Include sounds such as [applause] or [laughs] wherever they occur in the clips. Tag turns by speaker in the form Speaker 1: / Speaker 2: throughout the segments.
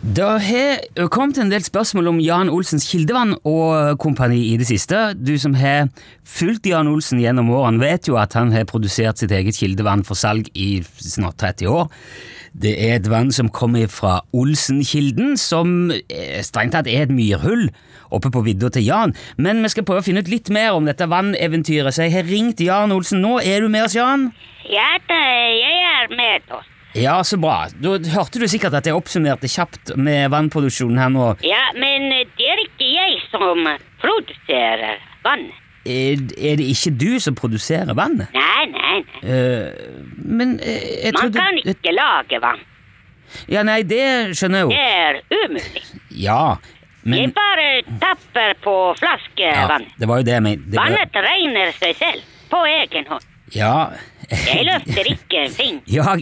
Speaker 1: Det har kommet en del spørsmål om Jan Olsens Kildevann og kompani i det siste. Du som har fulgt Jan Olsen gjennom årene, vet jo at han har produsert sitt eget kildevann for salg i snart 30 år. Det er et vann som kommer fra Olsenkilden, som eh, strengt tatt er et myrhull oppe på vidda til Jan. Men vi skal prøve å finne ut litt mer om dette vanneventyret, så jeg har ringt Jan Olsen nå. Er du med oss, Jan?
Speaker 2: Ja da, jeg er med nå.
Speaker 1: Ja, så bra. Da hørte du sikkert at jeg oppsummerte kjapt med vannproduksjonen her nå.
Speaker 2: Ja, men det er ikke jeg som produserer vann.
Speaker 1: Er, er det ikke du som produserer vannet?
Speaker 2: Nei, nei, nei.
Speaker 1: Eh, men eh, jeg
Speaker 2: Man
Speaker 1: trodde
Speaker 2: kan ikke lage vann.
Speaker 1: Ja, nei, det skjønner jeg jo.
Speaker 2: Det er umulig.
Speaker 1: Ja,
Speaker 2: Jeg
Speaker 1: men
Speaker 2: bare tapper på
Speaker 1: ja,
Speaker 2: flaskevann.
Speaker 1: Det var jo det jeg mente. Det var-
Speaker 2: Vannet regner seg selv. På egen hånd.
Speaker 1: Ja.
Speaker 2: Jeg løfter ikke en fing.
Speaker 1: ja,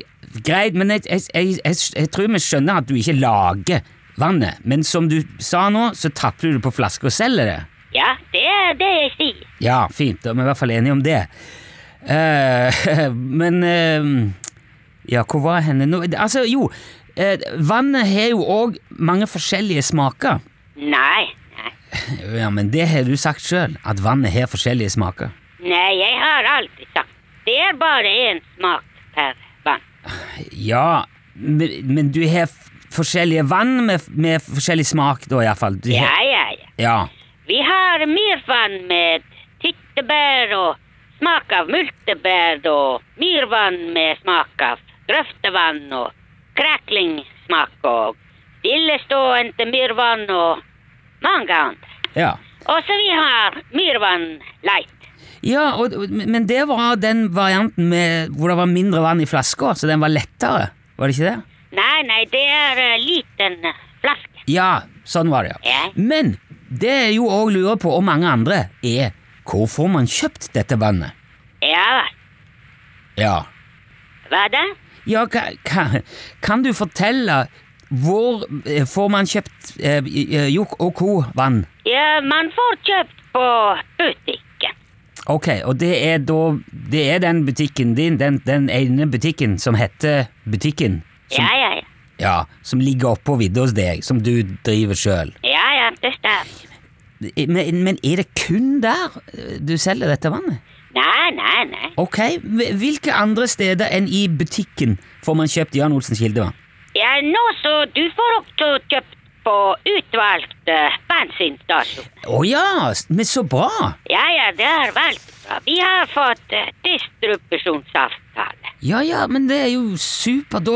Speaker 1: greit, men jeg, jeg, jeg, jeg, jeg tror vi skjønner at du ikke lager vannet. Men som du sa nå, så tapper du det på flaske og selger det.
Speaker 2: Ja, det er det jeg sier.
Speaker 1: Ja, fint. Da er vi i hvert fall enige om det. Eh, [laughs] men eh, Ja, hvor var jeg henne nå? Altså, jo. eh, vannet har jo òg mange forskjellige smaker.
Speaker 2: Nei, nei.
Speaker 1: Ja, Men det har du sagt sjøl, at vannet har forskjellige smaker.
Speaker 2: Nei, jeg har alltid sagt. Det er bare én smak per vann.
Speaker 1: Ja, men, men du har f- forskjellige vann med, med forskjellig smak, da iallfall.
Speaker 2: Ja, ja, ja.
Speaker 1: ja.
Speaker 2: Vi har myrvann med tyttebær og smak av multebær og myrvann med smak av grøftevann og kreklingsmak og stillestående myrvann og mange andre.
Speaker 1: Ja.
Speaker 2: Og så vi har myrvann light.
Speaker 1: ja og, og- men det var den varianten med, hvor det var mindre vann i flaska, så den var lettere, var det ikke det?
Speaker 2: Nei, nei, det er eh, liten flaske.
Speaker 1: Ja, sånn var det, ja.
Speaker 2: Ja.
Speaker 1: Men det er jo òg lurer på, og mange andre, er hvor får man kjøpt dette vannet?
Speaker 2: Ja vel.
Speaker 1: Ja.
Speaker 2: Hva da?
Speaker 1: Ja, ka, ka, kan du fortelle hvor eh, får man kjøpt eh, eh, Jok og Co-vann?
Speaker 2: Ja, man får kjøpt på butikken.
Speaker 1: Ok, og det er da Det er den butikken din, den, den ene butikken som heter Butikken? Som,
Speaker 2: Ja, ja, ja.
Speaker 1: ja, som ligger oppå vidda hos deg, som du driver sjøl.
Speaker 2: Ja, ja, det stemmer.
Speaker 1: Men, men er det kun der eh, du selger dette vannet?
Speaker 2: Nei, nei, nei.
Speaker 1: Ok, hv- Hvilke andre steder enn i butikken får man kjøpt Jan Olsens kildevann?
Speaker 2: Ja, nå så du får også kjøpt på utvalgt eh, bensinstasjon.
Speaker 1: Å ja, s- men så bra!
Speaker 2: Ja, ja, det er veldig bra. Vi har fått eh, distribusjonsavtale.
Speaker 1: Ja ja, men det er jo supert. Da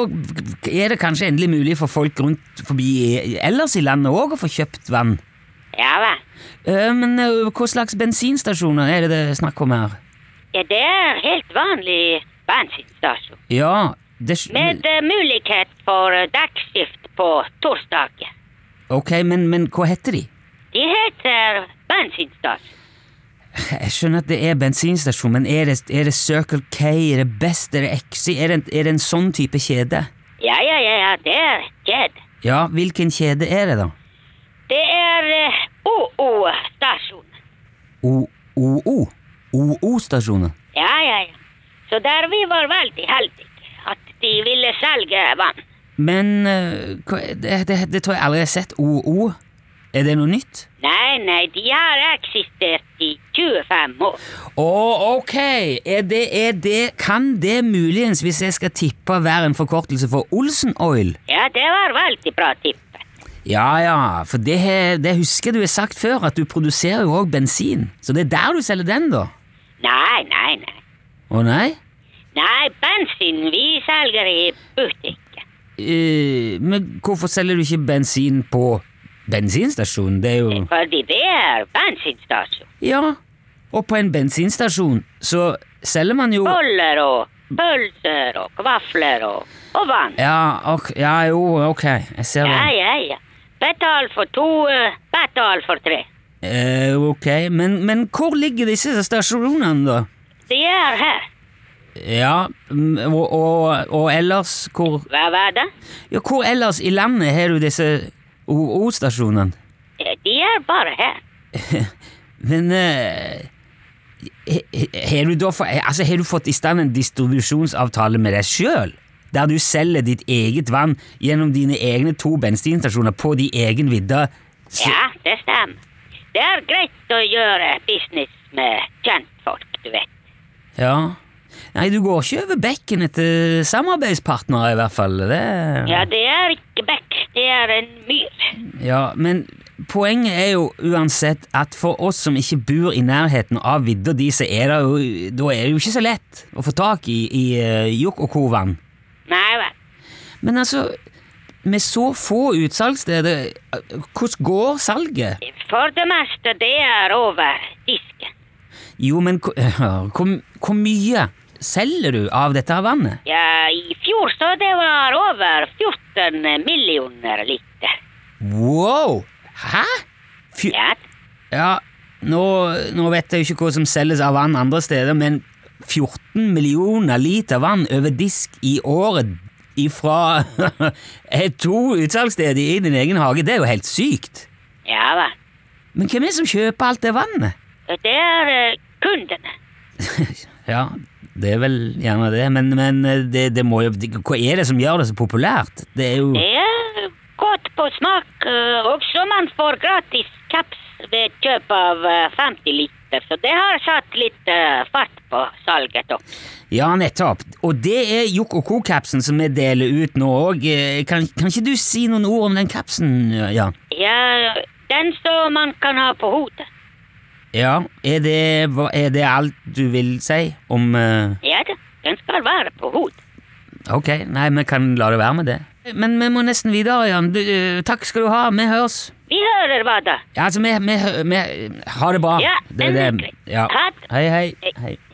Speaker 1: g- er det kanskje endelig mulig for folk rundt forbi i- ellers i landet òg å få kjøpt vann.
Speaker 2: Ja vel.
Speaker 1: Eh, Men eh, hva slags bensinstasjoner er det det er snakk om her?
Speaker 2: Ja, det er helt vanlig bensinstasjon.
Speaker 1: Ja, det s-
Speaker 2: Med eh, mulighet for eh, dagskift på torsdager.
Speaker 1: Ok, men, men hva heter de?
Speaker 2: De heter bensinstasjon.
Speaker 1: Jeg skjønner at det er bensinstasjon, men er det, er det Circle K, er det Best, er det Exi? Er det, en- er det en sånn type kjede?
Speaker 2: Ja, ja, ja, ja, det er kjede.
Speaker 1: Ja, hvilken kjede er det, da?
Speaker 2: Det er eh, OO-stasjon.
Speaker 1: OO? OO-stasjoner?
Speaker 2: Ja, ja, ja. Så der vi var veldig heldige at de ville selge vann.
Speaker 1: Men eh, hva, det, det, det tror jeg aldri jeg har sett. OO? Er det noe nytt?
Speaker 2: Nei, nei, de har eksistert i 25 år.
Speaker 1: Å, ok! Er det, er det, kan det muligens, hvis jeg skal tippe, være en forkortelse for Olsen Oil?
Speaker 2: Ja, det var veldig bra tippet.
Speaker 1: Ja ja, for det, he- det husker jeg du har sagt før, at du produserer jo òg bensin. Så det er der du selger den, da?
Speaker 2: Nei, nei, nei.
Speaker 1: Å nei?
Speaker 2: Nei, bensin vi selger i butikken.
Speaker 1: Eh, men hvorfor selger du ikke bensin på bensinstasjonen? Det er jo
Speaker 2: Fordi det er bensinstasjon.
Speaker 1: Ja. Og på en bensinstasjon så selger man jo
Speaker 2: Boller og pølser og vafler og, og vann.
Speaker 1: Ja, ok, ja jo, ok, jeg ser
Speaker 2: Ja,
Speaker 1: det.
Speaker 2: ja, ja. Betal for to, eh, betal for tre.
Speaker 1: Eh, ok, men, men hvor ligger disse stasjonene, da?
Speaker 2: De er her.
Speaker 1: Ja, mm, og, og, og ellers hvor,
Speaker 2: Hva var det?
Speaker 1: ja, hvor ellers i landet har du disse OO-stasjonene?
Speaker 2: Eh, De er bare her.
Speaker 1: Men eh, he- he- har du da fått, altså, har du fått i stand en distribusjonsavtale med deg sjøl? der du selger ditt eget vann gjennom dine egne to bensinstasjoner på din egen vidde. Så-
Speaker 2: Ja, det stemmer. Det er greit å gjøre business med kjentfolk, du vet.
Speaker 1: Ja. Nei, du går ikke over bekken etter samarbeidspartnere, i hvert fall. Det...
Speaker 2: Ja, det er ikke bekk, det er en myr.
Speaker 1: Ja, men poenget er jo uansett at for oss som ikke bor i nærheten av vidda di, så er det jo, da er det jo ikke så lett å få tak i, i eh, jokk og kovann.
Speaker 2: Nei vel.
Speaker 1: Men altså, med så få utsalgssteder, eh, hvordan går salget?
Speaker 2: For det meste, det er over disken.
Speaker 1: Jo, men hvor [laughs] hvor- hvor mye selger du av dette her vannet?
Speaker 2: Ja, i fjor så det var over 14 millioner liter.
Speaker 1: Wow! Hæ? Fy...
Speaker 2: Ja,
Speaker 1: Ja, nå, nå vet jeg jo ikke hva som selges av vann andre steder, men 14 millioner liter vann over disk i året ifra [laughs] to utsalgssteder i din egen hage, det er jo helt sykt.
Speaker 2: ja vel.
Speaker 1: Men hvem er det som kjøper alt det vannet?
Speaker 2: Det er eh, kundene.
Speaker 1: Ja, det er vel gjerne det, men, men eh, det, det må jo Hva er det som gjør det så populært? Det er jo
Speaker 2: Det er godt på smak, eh, også man får gratis caps ved kjøp av eh, 50 liter, så det har satt litt eh, fart på salget også.
Speaker 1: Ja, nettopp. Og det er Jokk og Co-kapsen som vi deler ut nå òg. Kan, kan ikke du si noen ord om den kapsen, eh, Jan?
Speaker 2: Ja, den som man kan ha på hodet.
Speaker 1: Ja, er det, hva- er det alt du vil si om eh,
Speaker 2: Ja da, den skal være på hodet.
Speaker 1: Ok, nei, vi kan la det være med det. Men vi må nesten videre, Jan. Du, eh, takk skal du ha, vi høres.
Speaker 2: Vi hører hva da?
Speaker 1: Ja, altså, vi, vi, hø- vi Ha det bra.
Speaker 2: Ja,
Speaker 1: det, er
Speaker 2: endelig.
Speaker 1: det. Ja.
Speaker 2: Ha det.
Speaker 1: Hei, hei.
Speaker 2: Hei.
Speaker 1: hei.